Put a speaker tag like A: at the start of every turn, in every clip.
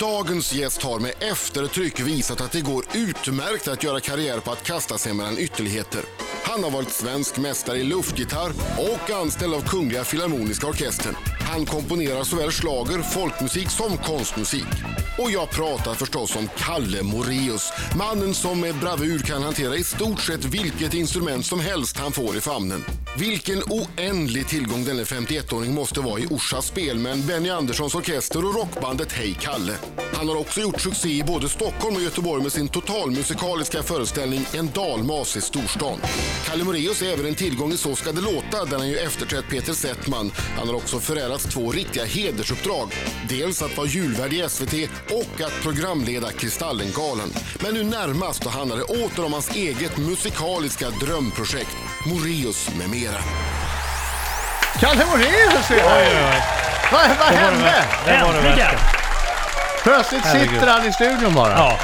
A: Dagens gäst har med eftertryck visat att det går utmärkt att göra karriär på att kasta sig mellan ytterligheter. Han har varit svensk mästare i luftgitarr och anställd av Kungliga Filharmoniska Orkestern. Han komponerar såväl slager, folkmusik som konstmusik. Och jag pratar förstås om Kalle Moreus, mannen som med bravur kan hantera i stort sett vilket instrument som helst han får i famnen. Vilken oändlig tillgång denne 51-åring måste vara i Orsas spelmän, Benny Anderssons orkester och rockbandet Hej Kalle. Han har också gjort succé i både Stockholm och Göteborg med sin totalmusikaliska föreställning En dalmas i storstan. Kalle Moreus är även en tillgång i Så ska det låta där han ju efterträtt Peter Settman. Han har också förärats två riktiga hedersuppdrag. Dels att vara julvärd i SVT och att programleda Kristallengalan. Men nu närmast då handlar det åter om hans eget musikaliska drömprojekt Moreus med mera.
B: Kalle Moraeus är här! Vad, vad hände?
C: Det var det värsta.
B: Plötsligt sitter
C: Herregud.
B: han i studion bara. Ja.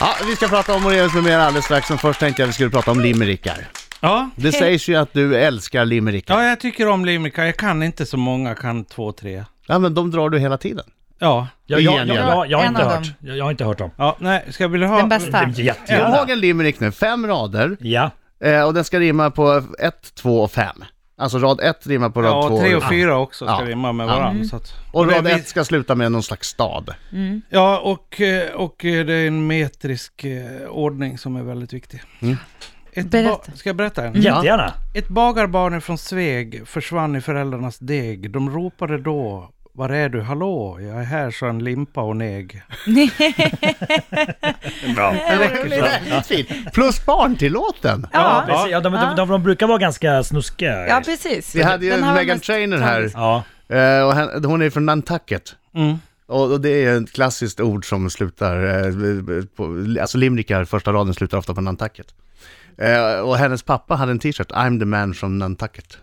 C: Ja.
B: vi ska prata om Moraeus med mera alldeles strax, men först tänkte jag att vi skulle prata om limerickar.
C: Ja.
B: Det sägs ju att du älskar limerickar.
C: ja, jag tycker om limerickar. Jag kan inte så många, jag kan två, tre.
B: Ja, men de drar du hela tiden.
C: Ja.
D: Ja,
B: Igen,
D: ja, ja,
B: igen.
D: ja, jag, har
E: En
D: inte
E: av
D: hört.
E: dem.
D: Jag, jag har inte hört dem.
C: Ja, nej, ska jag vilja ha...
E: Den bästa.
D: Det är jätte-
B: Kom ihåg en limerick nu, fem rader,
D: Ja.
B: eh, och den ska rimma på ett, två och fem. Alltså rad ett rimmar på rad
C: Ja,
B: två.
C: och tre och fyra också ska
B: Ja.
C: rimma med
B: Ja.
C: varandra.
E: Mm.
C: Så att...
B: Och rad
C: Det blir-
B: ett ska sluta med någon slags stad.
C: Ja, och, eh, och eh, det är en metrisk eh, ordning som är väldigt viktig.
B: Mm.
C: Ett
E: Berätta.
C: Ba- ska jag berätta en?
D: Jättegärna.
C: Ett bagarbarn från Sveg försvann i föräldrarnas deg. De ropade då var är du? Hallå, jag är här, sa en limpa och neg.
D: Bra.
B: Det är väldigt fint. Plus barntillåten.
D: Ja,
E: Ja.
D: precis. Ja, de, de, de, de brukar vara ganska snuskiga.
E: Ja, precis.
B: Vi hade ju
E: Den har de
B: Megan
E: mest
B: Trainor här.
E: tragiskt.
D: Ja.
B: Eh, och hen- hon är från Nantucket.
C: Mm.
B: Och, och det är ett klassiskt ord som slutar, eh, på, alltså limrikar, första raden slutar ofta på Nantucket. Eh, och hennes pappa hade en t-shirt, I'm the man from Nantucket.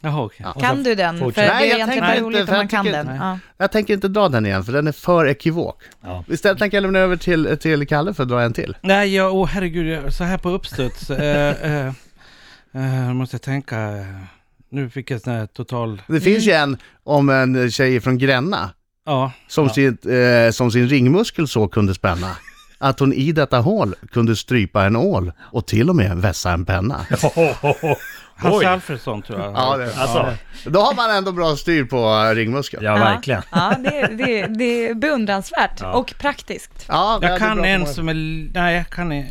C: Jaha, okej.
B: Ja.
E: Kan du den? För
D: Fortsätt.
E: det
B: Nej,
E: är
B: jag
E: egentligen
B: tänker
E: bara
B: inte,
E: roligt
B: för
E: om
B: jag
E: man kan
B: tycker-
E: den.
C: Nej.
E: Ja.
B: Jag tänker inte dra den igen, för den är för ekivok.
D: Ja.
B: Istället tänker jag lämna över till, till Kalle för att dra en till.
C: Nej, jag, åh herregud, jag, så här på uppstuds. eh, eh, eh, måste jag tänka. eh, Nu fick jag sån här total...
B: Det finns ju en om en tjej från Gränna,
C: Ja,
B: som, sitt, eh, som sin ringmuskel så kunde spänna. Att hon i detta hål kunde strypa en ål och till och med vässa en penna.
C: Hasse
D: Oj.
C: Alfredsson tror jag.
B: Ja, det,
D: Alltså.
B: Då har man ändå bra styr på eh, ringmuskeln.
D: Ja, verkligen.
E: Ja, det, det, det är beundransvärt
D: Ja.
E: och praktiskt.
B: Ja,
C: Jag
B: väldigt bra
C: kan
B: på
C: en
B: många.
C: som är... Nej, jag kan eh,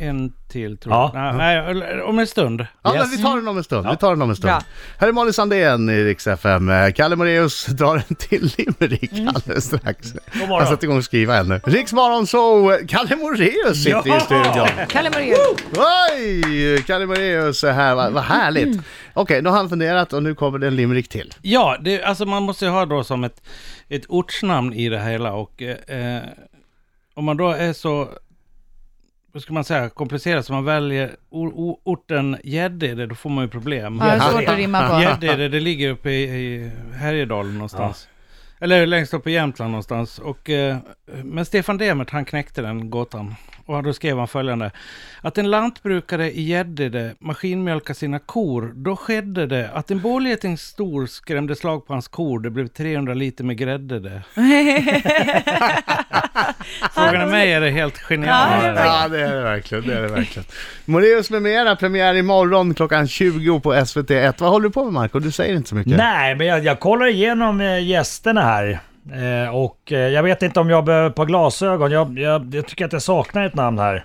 C: en till tror
D: Ja.
C: jag. Nej, Nej, om en stund.
B: Ja,
D: Yes.
B: men vi tar den om en stund. Vi tar den om en stund.
E: Bra.
B: Här är Molly Sandén i Rix FM. Eh, Kalle Moraeus drar en till limerick alldeles strax.
D: morgon.
B: Jag sätter igång och skriva ännu. Rix Morgon så Kalle Moraeus sitter i
D: Ja!
B: studion.
E: Kalle Moraeus.
B: Oj! Kalle Moraeus är här. Vad, vad härligt. Okej, nu har han funderat och nu kommer det en limerick till.
C: Ja, det, alltså man måste ju ha då som ett, ett ortsnamn i det hela och eh, eh, om man då är så, vad ska man säga, komplicerad så man väljer or, or, orten Gäddede, då får man ju problem.
E: Ja, det är svårt att rimma på.
C: Gäddede, det ligger uppe i, i Härjedalen någonstans. Eller längst upp i Jämtland någonstans. Och, eh, men Stefan Demert, han knäckte den gåtan. Och då skrev han följande. Att en lantbrukare i Gäddede maskinmjölkade sina kor, då skedde det att en bålgeting stor skrämde slag på hans kor. Det blev 300 liter med grädde det. Frågan är mig är det helt genialt.
E: Ja,
B: Ja, det är det verkligen. Det är det verkligen. Moraeus med mera, premiär imorgon klockan 20 på SVT1. Vad håller du på med Marco? Du säger inte så mycket.
D: Nej, men jag, jag kollar igenom eh, gästerna här. Eh, och eh, jag vet inte om jag behöver ett par glasögon. Jag, jag, jag tycker att jag saknar ett namn här.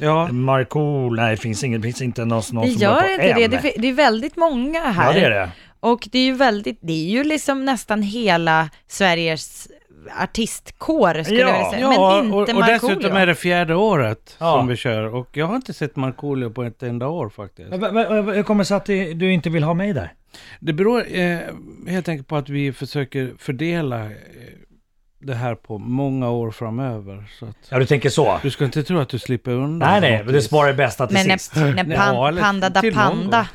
C: Ja.
D: Markool, nej det finns, inget, det finns inte någon, någon
E: Det
D: som börjar
E: gör
D: på
E: inte det.
D: M.
E: det. är- Det är väldigt många här.
D: Ja, det är det.
E: Och det är ju väldigt, det är ju liksom nästan hela Sveriges artistkår skulle
D: Ja.
E: jag vilja säga.
C: Ja,
E: Men inte
C: och, och dessutom är
E: Markoolio.
C: det fjärde året
D: Ja.
C: som vi kör och jag har inte sett Markoolio på ett enda år faktiskt.
D: Men- men- men Hur kommer det sig att det- du inte vill ha mig där?
C: Det beror eh, helt enkelt på att vi försöker fördela eh, det här på många år framöver. Så att,
D: Ja, du tänker så?
C: du ska inte tro att du slipper undan.
D: Nej,
C: på
D: nej,
C: något
D: men du
C: vis.
D: sparar det bästa till
E: Men
D: sist.
E: när, när pan,
C: Ja, eller
E: Panda da
C: till någon gång.
E: Panda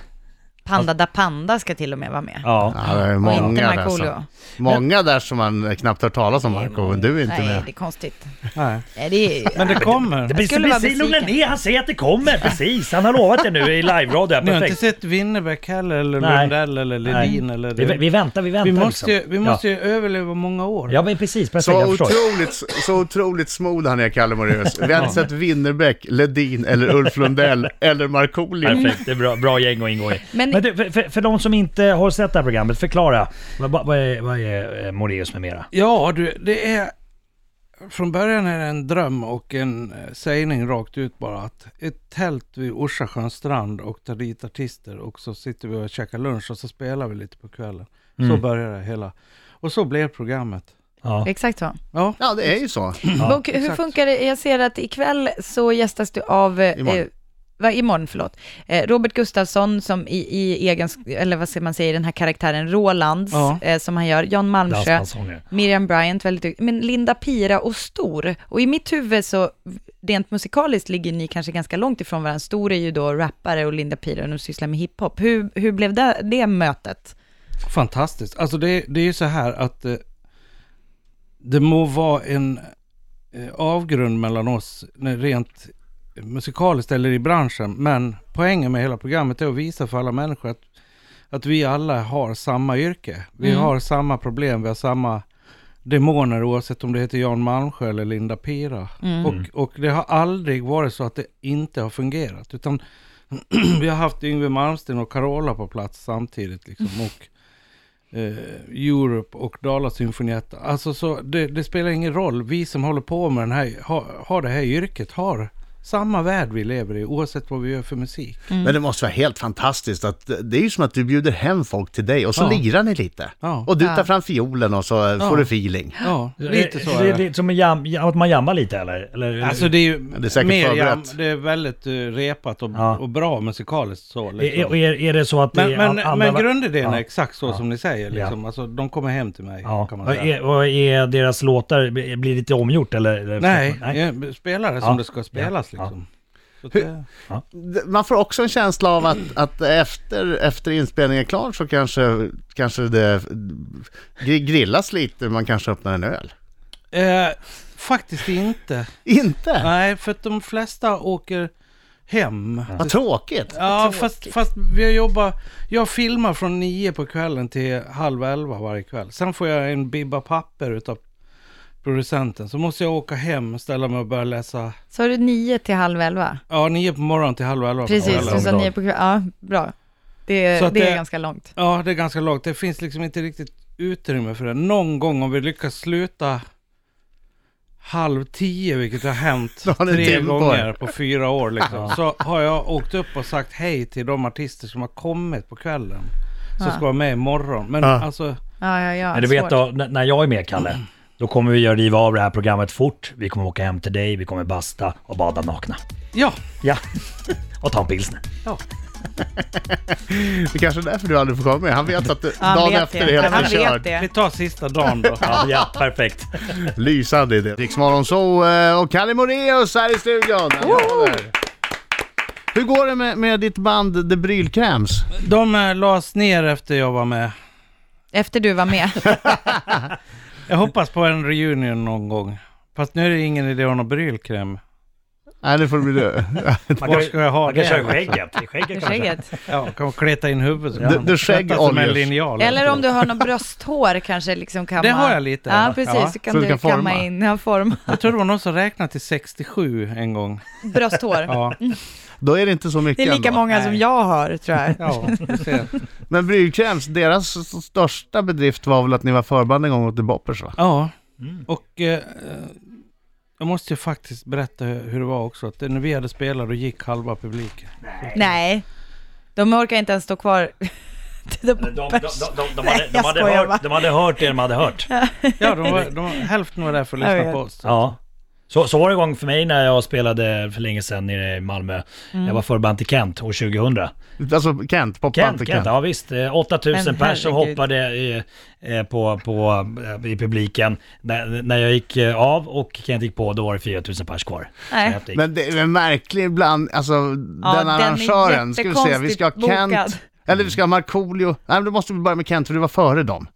E: Panda da Panda ska till och med vara med.
D: Ja.
B: Ja, det är
E: och inte
B: många där,
E: Markoolio.
B: som, många där som man eh, knappt hört talas om Marco, men du är inte
E: Nej,
B: med.
E: det är konstigt.
C: Nej.
E: Nej, det är...
C: Men det kommer.
D: Det blir
E: skulle vara
D: precis, lugna
E: besviken.
D: ner, han säger att det kommer precis. Han har lovat det nu i live-radio. här,
C: Ni har inte
D: Perfekt.
C: sett Winnerbäck heller, eller
D: Nej.
C: Lundell, eller Ledin, eller...
D: Vi, vi väntar, vi väntar.
C: vi måste, ju,
D: liksom.
C: vi måste ju överleva många år.
D: Ja. ja, men precis. Perfekt,
B: Så
D: jag förstår.
B: otroligt, så otroligt smooth han är, Kalle Moraeus. Vi hade sett Winnerbäck, Ledin eller Ulf Lundell eller Markoolio.
D: Perfekt, det är bra, bra gäng att ingå i.
E: Men-
D: Men, du, för, för, för de som inte har sett det här programmet, förklara. Vad, vad, vad är, vad är eh, Moraeus med mera?
C: Ja, du, det är... Från början är det en dröm och en eh, sägning rakt ut bara att ett tält vid Orsa strand och tar dit artister och så sitter vi och käkar lunch och så spelar vi lite på kvällen. Så börjar det hela. Och så blev programmet.
D: Ja.
E: Exakt så.
C: Ja,
B: Ja, det är ju så.
E: Mm.
D: Ja,
E: och hur
C: exakt.
E: funkar det? Jag ser att ikväll så gästas du av... eh,
B: Imorgon.
E: Eh, va, imorgon, förlåt. Eh, Robert Gustafsson som i, i egen, eller vad ska man säga, i den här karaktären Rolands,
C: Ja.
E: eh, som han gör, Jan Malmsjö,
D: Dansbandssånger.
E: Miriam Bryant, väldigt duktig, men Linda Pira och Stor. Och i mitt huvud så, rent musikaliskt ligger ni kanske ganska långt ifrån varandra. Stor är ju då rappare och Linda Pira, de sysslar med hiphop. Hur, hur blev det, det mötet?
C: Fantastiskt. Alltså det, det är ju så här att eh, det må vara en eh, avgrund mellan oss när- rent musikaliskt eller i branschen. Men poängen med hela programmet är att visa för alla människor att, att vi alla har samma yrke. Vi har samma problem, vi har samma demoner oavsett om det heter Jan Malmsjö eller Linda Pira. Och, och det har aldrig varit så att det inte har fungerat. Utan vi har haft Yngwie Malmsteen och Carola på plats samtidigt. Liksom, och eh, Europe och Dala Symfonietta. Alltså så det, det spelar ingen roll. Vi som håller på med den här, har, har det här yrket har samma värld vi lever i oavsett vad vi gör för musik.
B: Men det måste vara helt fantastiskt att det är ju som att du bjuder hem folk till dig och så
C: Ja.
B: lirar ni lite.
C: Ja.
B: Och du
E: Ja.
B: tar fram fiolen och så eh, får du feeling.
C: Ja, lite så
D: Det,
C: är
D: det
C: det.
D: är som en jam, ja, att man jammar lite eller? eller
C: Alltså det är ju
B: det är säkert
C: mer
B: förberett.
C: jam- det är väldigt eh, repat och,
D: Ja.
C: och bra musikaliskt så.
D: är,
C: Liksom.
D: är, är, är det så att det
C: Men,
D: är
C: men,
D: an-
C: men
D: andra-
C: grundidén
D: Ja.
C: är exakt så
D: Ja.
C: som ni säger. Liksom. Alltså, de kommer hem till mig.
D: Ja.
C: Kan man
D: Och
C: säga.
D: är, och är deras låtar, blir det lite omgjort eller? eller-
C: Nej, jag spelar det som
D: Ja.
C: det ska spelas
D: Ja.
C: liksom. Så att
B: Hur-
C: det-
B: D- Man får också en känsla av att, att efter, efter inspelningen är klar så kanske, kanske det gr- grillas lite, man kanske öppnar en öl.
C: Eh, faktiskt inte.
B: Inte?
C: Nej, för att de flesta åker hem.
B: Vad tråkigt.
C: Ja, fast, fast vi har jobbat... Jag filmar från nio på kvällen till halv elva varje kväll. Sen får jag en bibba papper utav producenten. Så måste jag åka hem och ställa mig och börja läsa.
E: Så har du nio till halv elva?
C: Ja, nio på morgonen till halv elva på
E: Precis,
C: kvällen.
E: du sa
D: Lång
E: nio
D: dag.
E: på kvällen. Ja, bra. Det,
C: Så
E: det,
C: att
E: är
C: det-
E: ganska långt.
C: Ja, det är ganska lågt. Det finns liksom inte riktigt utrymme för det. Någon gång om vi lyckas sluta halv tio, vilket har hänt
B: Då har ni en
C: tre
B: timme på
C: gånger
B: er.
C: på fyra år liksom, så har jag åkt upp och sagt hej till de artister som har kommit på kvällen. Som
E: Ja.
C: ska vara med imorgon. Men
B: Ja.
C: alltså,
E: Ja, ja, ja.
D: Men du vet
E: svårt.
D: då, n- när jag är med Kalle, då kommer vi göra riva av det här programmet fort. Vi kommer åka hem till dig, vi kommer basta och bada nakna.
C: ja.
D: Ja, och ta en pilsner.
C: ja.
B: Det kanske är därför du aldrig får komma med. Han vet att det,
E: Ja, han
B: dagen
E: vet
B: efter
E: det.
B: är helt
E: Han vet
B: förkörd.
E: det.
C: Vi tar sista dagen då.
D: Ja, ja perfekt.
B: Lysande idé. Riksmorgon så eh, och Kalle Moraeus här i studion. Applåder. Hur går det med, med ditt band The Brylkräms?
C: De eh, lades ner efter jag var med.
E: Efter du var med.
C: Jag hoppas på en reunion någon gång. Fast nu är det ingen idé att ha någon brylkräm.
B: Nej, nu får det bli du.
D: Man
C: Var
D: kan,
C: ska jag ha
D: man kan
C: det?
D: köra skägget. I
E: i
D: skägget kanske.
E: skägget.
C: Ja, kan man kleta in huvudet. så kan
B: Du-
C: man
B: du skägg
C: tvätta som en
B: oljus.
C: linjal.
E: Eller om du har något brösthår kanske liksom kamma.
C: Det har jag lite.
E: Ja, precis.
C: Ja.
E: Så kan
B: Så
E: du
B: du kan
E: kamma
B: forma.
E: in, ja, form.
C: Jag tror det var någon som räknade till 67 en gång.
E: Brösthår.
C: Ja,
B: Då är det inte så
E: Det
B: mycket
E: är lika
B: ändå.
E: många som
C: Nej.
E: jag har, tror jag.
C: ja du ser.
B: Men Brylkräms, deras s- största bedrift var väl att ni var förband en gång åt The Boppers va?
C: Ja, och eh, jag måste ju faktiskt berätta hur det var också. Att när vi hade spelat då gick halva publiken.
E: Nej. De orkar inte ens stå kvar.
D: De,
E: De,
D: de, de, de, de,
E: Nej,
D: hade,
E: jag
D: de, hade
E: skojar
D: hört,
E: bara.
D: de hade hört det de hade hört.
C: Ja, de var, de var, hälften var där för att
E: Jag
C: lyssna
E: vet.
C: på oss.
D: Ja. Så, så var det en gång för mig när jag spelade för länge sedan nere i Malmö.
E: Mm.
D: Jag var förband till Kent år 2000.
B: Alltså Kent, popband
D: Kent,
B: till
D: Kent,
B: Kent.
D: ja visst. Eh,
E: Men
D: 8000 personer
E: herregud.
D: hoppade i, eh, på, på, eh, i publiken. När, när jag gick eh, av och Kent gick på, då var det 4000 pers kvar.
E: Nej.
D: Så häftigt.
B: Men det är en märklig bland, alltså den
E: är
B: arrangören. Ska vi se, vi ska ha
E: jättekonstigt
B: Kent,
E: bokad.
B: Eller du ska ha Markoolio. Nej, men du måste vi börja med Kent, för du var före dem.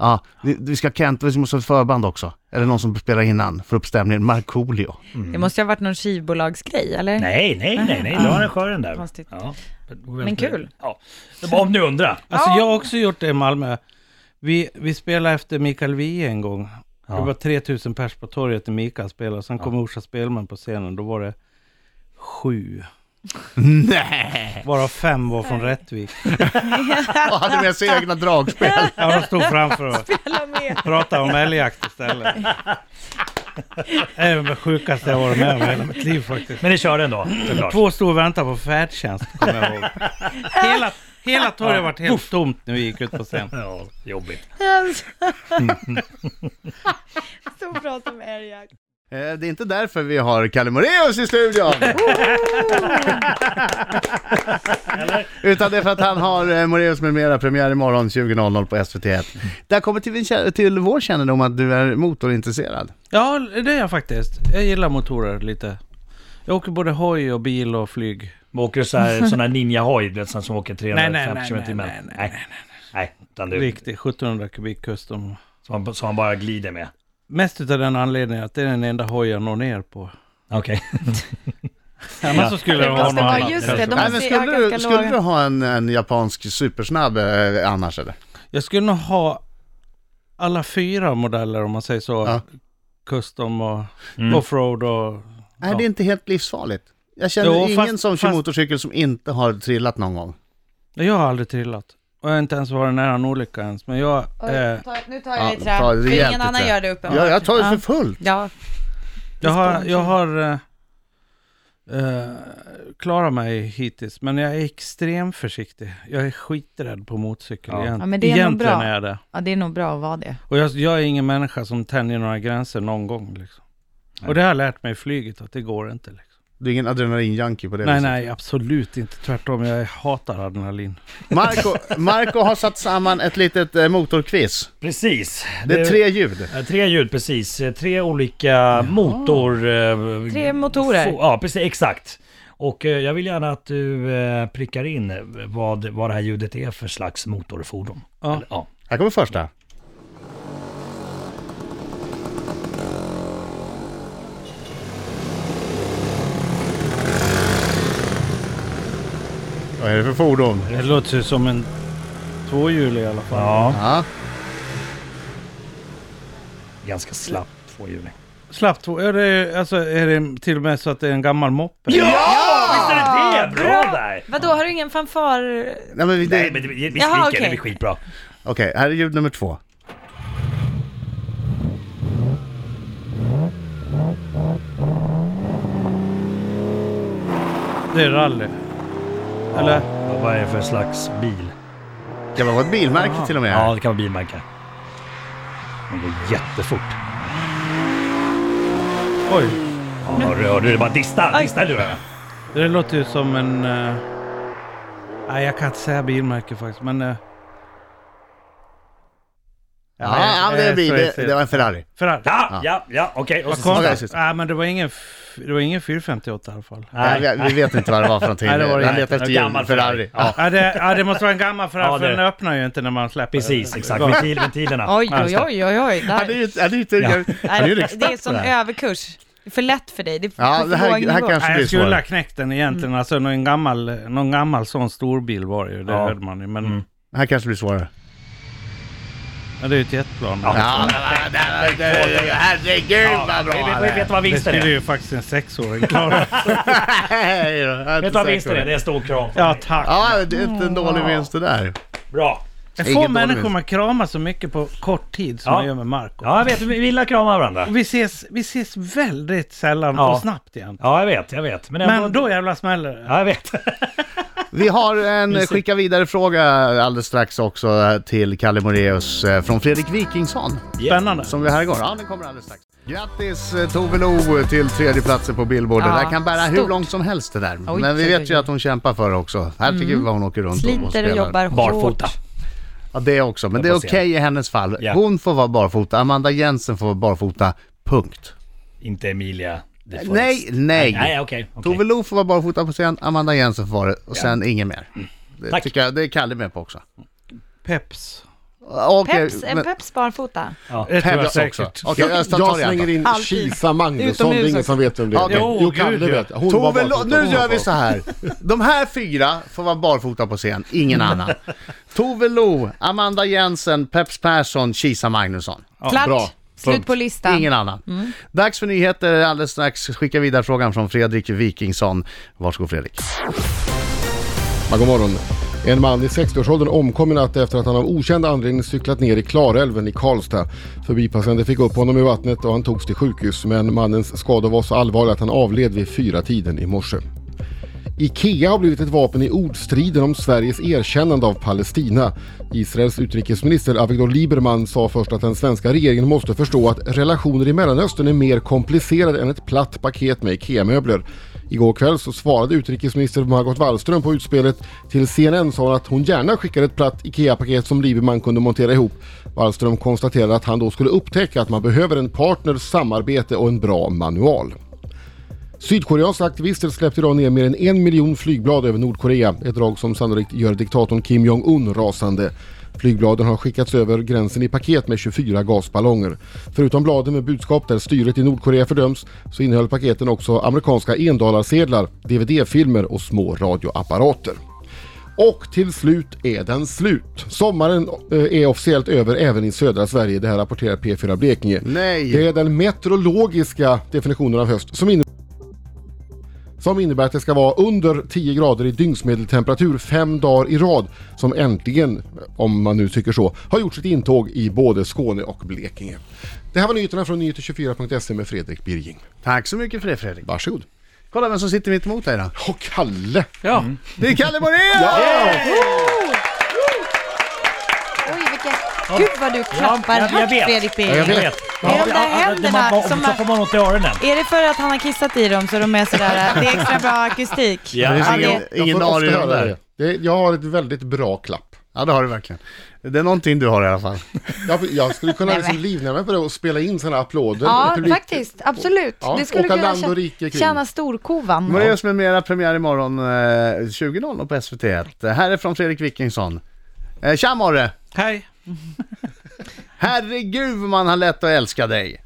B: Ja, vi, vi ska ha Kent, vi måste ha ett förband också. Eller någon som spelar innan, för upp stämningen. Markoolio.
E: Det måste ju ha varit någon skivbolagsgrej, eller?
D: Nej, nej, nej, nej. Du har arrangören där.
E: Konstigt.
D: Ja.
E: Men kul.
D: Ja. Det var om ni undrar.
C: Alltså jag har också gjort det i Malmö. Vi, vi spelade efter Mikael Wiehe en gång. Det var 3000 pers på torget när Mikael spelade. Sen kom Orsa Spelman på scenen. Då var det sju.
B: Nej!
C: Varav fem var från Rättvik.
B: Och hade med sig egna dragspel.
C: Ja, de stod framför och
E: Spela med.
C: pratade om älgjakt istället. Det är det sjukaste jag varit med om i hela mitt liv faktiskt.
D: Men ni kör ändå, såklart.
C: Två stod och väntade på färdtjänst, kommer jag ihåg. Hela, hela torget varit helt tomt när vi gick ut på scen.
D: Ja, jobbigt.
E: Så bra som älgjakt.
B: Eh, Det är inte därför vi har Kalle Moraeus i studion! Utan det är för att han har eh, Moraeus med mera premiär imorgon 20.00 på SVT1. Där kommer till, min, kä- till vår kännedom att du är motorintresserad.
C: Ja, det är jag faktiskt. Jag gillar motorer lite. Jag åker både hoj och bil och flyg.
D: Men åker du så här, sån här ninja-hoj, du vet, sån som åker
C: Nej, nej,
D: 350
C: nej,
D: km i timmen?
C: nej, nej,
D: nej, nej. Nej, utan du,
C: Riktig 1700 kubik custom.
D: som, han- som han bara glider med.
C: Mest utav den anledningen att det är den enda hoj jag når ner på.
D: Okej.
C: Annars så skulle jag ha
E: måste
C: någon
E: vara
C: annan.
E: just det, de-
C: custom.
B: Nej, men
E: måste ju ha
B: skulle, du,
E: ganska
B: skulle
E: låga-
B: du ha en, en japansk supersnabb eh, annars eller?
C: Jag skulle nog ha alla fyra modeller om man säger så.
B: Ja.
C: Custom och offroad och...
B: Nej, det är inte helt livsfarligt. Jag känner
C: Jo,
B: ingen
C: fast-
B: som kör
C: fast-
B: motorcykel som inte har trillat någon gång.
C: Nej, Jag har aldrig trillat. Och jag har inte ens varit nära en olycka ens. Men jag... Eh,
E: nu
B: Ja,
E: tar jag i
B: ta
E: trä. För
B: rejält
E: ingen
B: i
E: annan
B: trä.
E: gör det
B: Ja,
E: uppenbarligen.
B: jag tar det för fullt.
E: Ja,
C: jag har... Jag
E: sponsor.
C: har eh, eh, klarat mig hittills. Men jag är extremt försiktig. Jag är skiträdd på motorcykel.
D: Ja.
C: Egent-
E: Ja, men det är nog
C: Egentligen
E: bra.
C: är jag det.
E: ja, det är nog bra att vara det.
C: Och jag, jag är ingen människa som tänjer några gränser någon gång. Liksom. Och det har jag lärt mig i flyget att det går inte. Liksom.
B: Du är ingen adrenalinjunkie på det
C: Nej,
B: viset.
C: nej, absolut inte. Tvärtom, jag hatar adrenalin.
B: Marco, Marco har satt samman ett litet eh, motorquiz.
D: Precis.
B: Det är tre ljud.
D: Eh, Tre hjul, precis. Eh, Tre olika motor... eh,
E: Tre motorer.
D: få- Ja, precis. Exakt. Och eh, jag vill gärna att du eh, prickar in eh, vad, vad det här ljudet är för slags motorfordon.
C: Ja.
D: Eller, ja.
B: Här kommer första. Vad är det för fordon?
C: Det låter ju som en tvåhjulig i alla fall.
D: ja.
B: Ja,
D: Ganska slapp tvåhjuling.
C: Slapp två, är det, alltså, är det till och med så att det är en gammal moppe?
D: Ja! Visst är det det? Bra, där!
E: Vadå, har du ingen fanfar?
B: nej men vi- det...
D: Nej,
B: Okej,
D: men det- vi vi
E: Jaha,
D: stryker det. Det
E: okej.
D: blir skitbra.
B: här är ljud nummer två.
C: Det är rally. Eller?
D: Ja, vad är det för slags bil?
B: Kan vara ett bilmärke till och med.
D: Ja, det kan vara bilmärke. Den går jättefort.
C: Oj,
D: Ja, hörde du? Det bara distar. Distar du?
C: det låter ju som en... eh, Nej, jag kan inte säga bilmärke faktiskt, men... eh,
B: ja, ja,
C: eh,
B: men det, är bil. det, det var en Ferrari.
C: Ferrari.
D: Ja, ja, ja, okej. Och
C: Vad
D: så-
C: konstigt.
B: sist.
C: Nej, men det var ingen, f- det var ingen 458 i alla fall.
B: Nej, vi, vi vet inte vad det var för någonting.
C: Nej, det var det
B: Han
C: inte.
B: letar efter
D: En
B: ljud.
D: gammal
B: Ferrari.
D: Ferrari.
B: Ja.
C: Ja, det, ja, det måste vara en gammal Ferrari,
D: Ja, det-
C: för den öppnar ju inte när man släpper
D: Precis,
C: den.
D: exakt.
C: Ja.
D: Ventil, ventilerna.
E: Oj, oj, oj, oj, oj. Där.
B: Han är ju han är ju inte...
D: Ja.
B: Han är ju en
E: det är
B: expert på
E: sån
B: det här.
E: överkurs. Det är för lätt för dig. Det är för-
B: Ja,
E: för
B: det här,
E: låg
B: det här
E: nivå.
B: kanske
C: Nej,
B: blir
C: jag skulle ha
B: svårt.
C: knäckt den egentligen.
B: Mm.
C: Alltså någon gammal, någon gammal sån storbil var det ju. Det
D: Ja.
C: hörde man ju. Men
D: Mm.
B: Det här kanske blir svårare.
C: ja, det är ju ett jetplan.
B: Ja, äh, herregud vad
D: Vi vet- Vi vet vad
C: Det
D: vinsten
C: skulle
D: är.
C: ju faktiskt en sexåring klara.
D: Vet vad vinsten är? Det är en stor kram.
C: ja, tack.
B: Ja, det är inte en dålig vinst det där.
D: Bra.
C: Jag
B: Ingen
C: får
B: dålig
C: människor
B: vinst.
C: man kramar så mycket på kort tid som
D: Ja.
C: man gör med Marco.
D: Ja, jag vet. Vi gillar att krama varandra.
C: Och Vi ses, vi ses väldigt sällan
D: Ja.
C: och snabbt igen.
D: Ja, jag vet. Jag vet. Men, ändå-
C: Men då jävla smäller det.
D: Ja, jag vet.
B: Vi har en skicka vidare-fråga alldeles strax också eh, till Kalle Moreus eh, från Fredrik Wikingsson
C: Spännande.
B: som vi här går. Ja, den kommer alldeles strax. Grattis eh, Tove Lo till tredjeplatsen på Billboard. Det
E: Ja,
B: där kan bära hur
E: stort.
B: långt som helst det där.
E: Oj,
B: Men vi
E: oj,
B: vet
E: oj,
B: ju
E: oj.
B: att hon kämpar för det också. Här tycker vi vad hon åker runt och, och
E: Sliter
B: spelar.
E: och jobbar hårt.
D: Barfota.
B: Ja, det också. Men det är
D: Jag får
B: okej
D: se.
B: i hennes fall.
D: Ja.
B: Hon får vara barfota. Amanda Jensen får vara barfota. Punkt.
D: Inte Emilia. de Forest.
B: Nej, nej.
D: Nej, okej. okej.
B: Tove Lo får vara barfota på scen, Amanda Jensen får vara det och sen ingen mer. Det,
D: Tack.
B: tycker jag, det är Kalle med på också.
C: Peps.
B: Okej,
E: Peps, en
B: men-
E: Peps barnfota.
C: Det tror jag
B: Peps också.
C: säkert.
B: Okej, jag tar
A: jag
B: det i alla
A: slänger
B: fall.
A: in
E: Alltid.
A: Kisa Magnusson, det är
E: Utomhus
A: ingen
E: också.
A: som vet vem det är.
B: Okej.
C: Jo,
A: Jo, Kalle
C: gud, ja.
A: vet. Hon var
B: Tove,
A: bara
B: Lo-
A: på-
B: nu
A: hon var
B: gör vi
A: på-
B: så här. De här fyra får vara barfota på scen, ingen annan. Tove Lo, Amanda Jensen, Peps Persson, Kisa Magnusson.
E: Klart.
A: bra.
E: Slut
A: Punkt.
E: på listan. Mm.
B: Ingen annan. Dags för nyheter alldeles strax. Skicka vidare frågan från Fredrik Wikingsson. Varsågod Fredrik.
A: Ja, god morgon. En man i 60-årsåldern omkom i natt efter att han av okänd anledning cyklat ner i Klarälven i Karlstad. Förbipassande fick upp honom i vattnet och han togs till sjukhus men mannens skador var så allvarliga att han avled vid fyra tiden i morse. Ikea har blivit ett vapen i ordstriden om Sveriges erkännande av Palestina. Israels utrikesminister Avigdor Lieberman sa först att den svenska regeringen måste förstå att relationer i Mellanöstern är mer komplicerade än ett platt paket med Ikea-möbler. Igår kväll så svarade utrikesminister Margot Wallström på utspelet. Till CNN sa hon att hon gärna skickar ett platt IKEA-paket som Lieberman kunde montera ihop. Wallström konstaterade att han då skulle upptäcka att man behöver en partner, samarbete och en bra manual. Sydkoreanska aktivister släppte idag ner mer än en miljon flygblad över Nordkorea. Ett drag som sannolikt gör diktatorn Kim Jong-Un rasande. Flygbladen har skickats över gränsen i paket med 24 gasballonger. Förutom bladen med budskap där styret i Nordkorea fördöms så innehöll paketen också amerikanska endollarsedlar, DVD-filmer och små radioapparater. Och till slut är den slut. Sommaren eh, är officiellt över även i södra Sverige. Det här rapporterar P4 Blekinge.
B: Nej.
A: Det är den meteorologiska definitionen av höst som innebär som innebär att det ska vara under 10 grader i dygnsmedeltemperatur fem dagar i rad som äntligen, om man nu tycker så, har gjort sitt intåg i både Skåne och Blekinge. Det här var nyheterna från nyheter24.se med Fredrik Birging.
B: Tack så mycket för det Fredrik.
A: Varsågod.
B: Kolla vem som sitter mitt emot dig då.
A: Och Kalle!
C: Ja,
D: Mm.
B: Det är Kalle Moraeus!
E: Oj, vilka... Gud vad du klappar
D: jag- jag
E: högt
D: vet.
E: Fredrik
A: Ja, jag
E: Birger.
A: vet.
E: Det är de där händerna
D: man,
E: som
D: Så får man ont i öronen.
E: Är det för att han har kissat i dem så de är sådär, det är extra bra akustik?
D: Ja.
B: Det
E: Ja,
B: finns ingen,
E: det-
A: Jag
B: ingen
A: får ofta
B: arie om
A: höra
B: det här.
A: det. Det- Jag har ett väldigt bra klapp.
B: Ja det har du verkligen. Det är någonting du har i alla fall.
A: Jag, jag skulle kunna
E: Nej,
A: liksom
E: men.
A: livnära mig på det och spela in sådana applåder.
E: Ja,
A: Publik-
E: faktiskt. Absolut.
A: Ja,
E: det skulle
A: åka
E: kunna
A: land och
E: tjä-
A: rike kring.
E: tjäna storkovan.
B: Moraeus med mera premiär imorgon eh, 20.00 på SVT1. Eh, Här är från Fredrik Wikingsson. Eh, Tja Morre!
C: hej.
B: Herregud vad man har lätt att älska dig.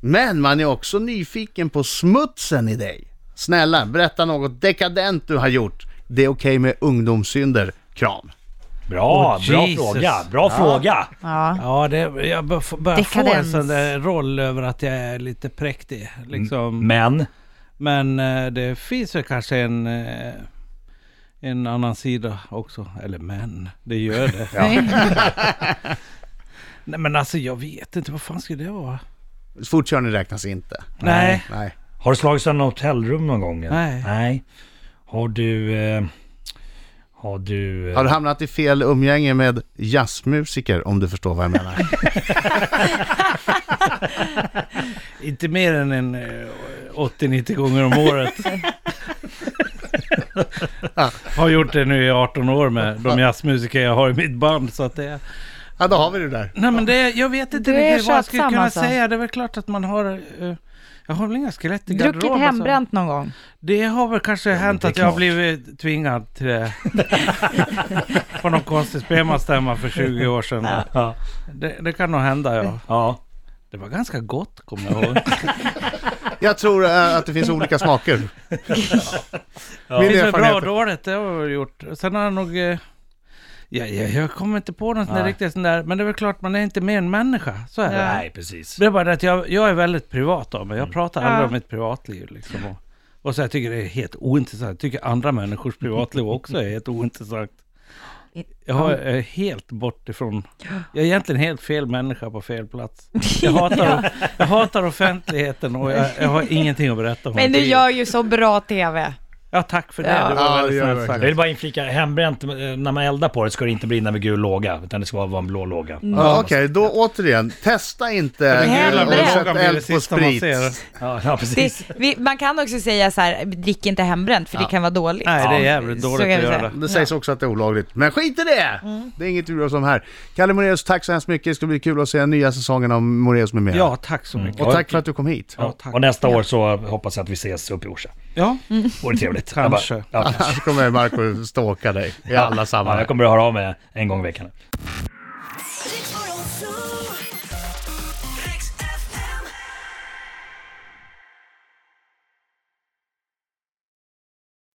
B: Men man är också nyfiken på smutsen i dig. Snälla, berätta något dekadent du har gjort. Det är okej med ungdomssynder. Kram.
D: Bra,
C: Oh,
D: bra
C: Jesus.
D: fråga. Bra fråga.
E: Ja.
C: Ja, det, jag bör- får- börjar få en
E: Dekadens.
C: sån där roll över att jag är lite präktig. Liksom.
D: Mm. Men,
C: Men eh, det finns väl kanske en, eh, en annan sida också. Eller men, det gör det. Nej men alltså jag vet inte, vad fan skulle det vara?
B: Fortkörning räknas inte.
C: Nej.
B: Nej.
D: har du slagit sönder hotellrum någon gång? eller?
C: Nej.
D: Nej. Har du... Eh, har du... Eh,
B: Har du hamnat i fel umgänge med jazzmusiker om du förstår vad jag menar?
C: Inte mer än en eh, 80-90 gånger om året. har gjort det nu i 18 år med de jazzmusiker jag har i mitt band. Så att det,
B: ja, då har vi det där.
C: nej men det, jag vet inte
E: Du är
C: riktigt vad jag skulle
E: tjatsam,
C: kunna
E: alltså.
C: säga. Det är väl klart att man har... eh, jag har väl inga skelett i
E: Druckit
C: garderoben, så-
E: hembränt någon gång?
C: Det har väl kanske hänt
D: det är
C: att jag har
D: klart.
C: blivit tvingad till det. På någon konstig spelmansstämma för 20 år sedan.
D: ja.
C: Det, det kan nog hända ja.
D: ja.
C: Det var ganska gott kommer jag ihåg.
B: Jag tror eh, att det finns olika smaker.
C: Det
B: Min
C: finns väl bra och
B: erfarenhet.
C: dåligt, det har jag gjort. Sen har jag nog... eh, Ja, ja, jag kommer inte på något sån där
D: Nej.
C: riktigt sån där. Men det är väl klart man är inte mer än människa. Så är det.
D: Nej, precis.
C: Det är bara det att jag, jag är väldigt privat av
B: Mm.
C: mig. Jag pratar aldrig
E: Ja.
C: om mitt privatliv liksom. Och, och så jag tycker det är helt ointressant. Jag tycker andra människors privatliv också är helt ointressant. Jag är helt bort ifrån... Jag är egentligen helt fel människa på fel plats. Jag hatar, jag hatar offentligheten och jag, jag har ingenting att berätta om.
E: Men du gör ju så bra TV.
C: Ja, tack för det.
E: Ja.
C: Det var
B: Ja, det
C: väldigt
B: gör jag
C: snällt sagt.
D: Jag vill bara inflika, hembränt, eh, när man eldar på det ska det inte brinna med gul låga, utan det ska vara en blå låga.
B: Ja, Okej, då återigen. Testa inte
C: Den gula
B: eh, och sätt
E: blågan
C: blir det
B: eld på
C: sista man
B: sprit.
C: ser.
D: Ja, ja precis.
E: Det, vi, man kan också säga så här, drick inte hembränt för det kan vara dåligt.
C: Nej, det är jävligt
E: Så
C: dåligt
E: kan
C: att
E: vi
C: göra
E: säga.
C: det.
B: Det sägs också att det är olagligt, men skit i det! Det är inget ur som här. Kalle Moraeus, tack så hemskt mycket. Det ska bli kul att se nya säsongen av Moraeus med mera.
C: Ja, tack så mycket.
B: Mm. Och tack för att du kom hit.
C: Ja, tack.
D: Och nästa år så hoppas jag att vi ses uppe i Orsa.
C: Ja,
D: Vore trevligt.
C: Kanske.
D: Jag, bara, ja,
B: Annars kommer Marco stalka dig i alla
D: ja,
B: sammanhang.
D: jag kommer att höra av mig en gång i veckan.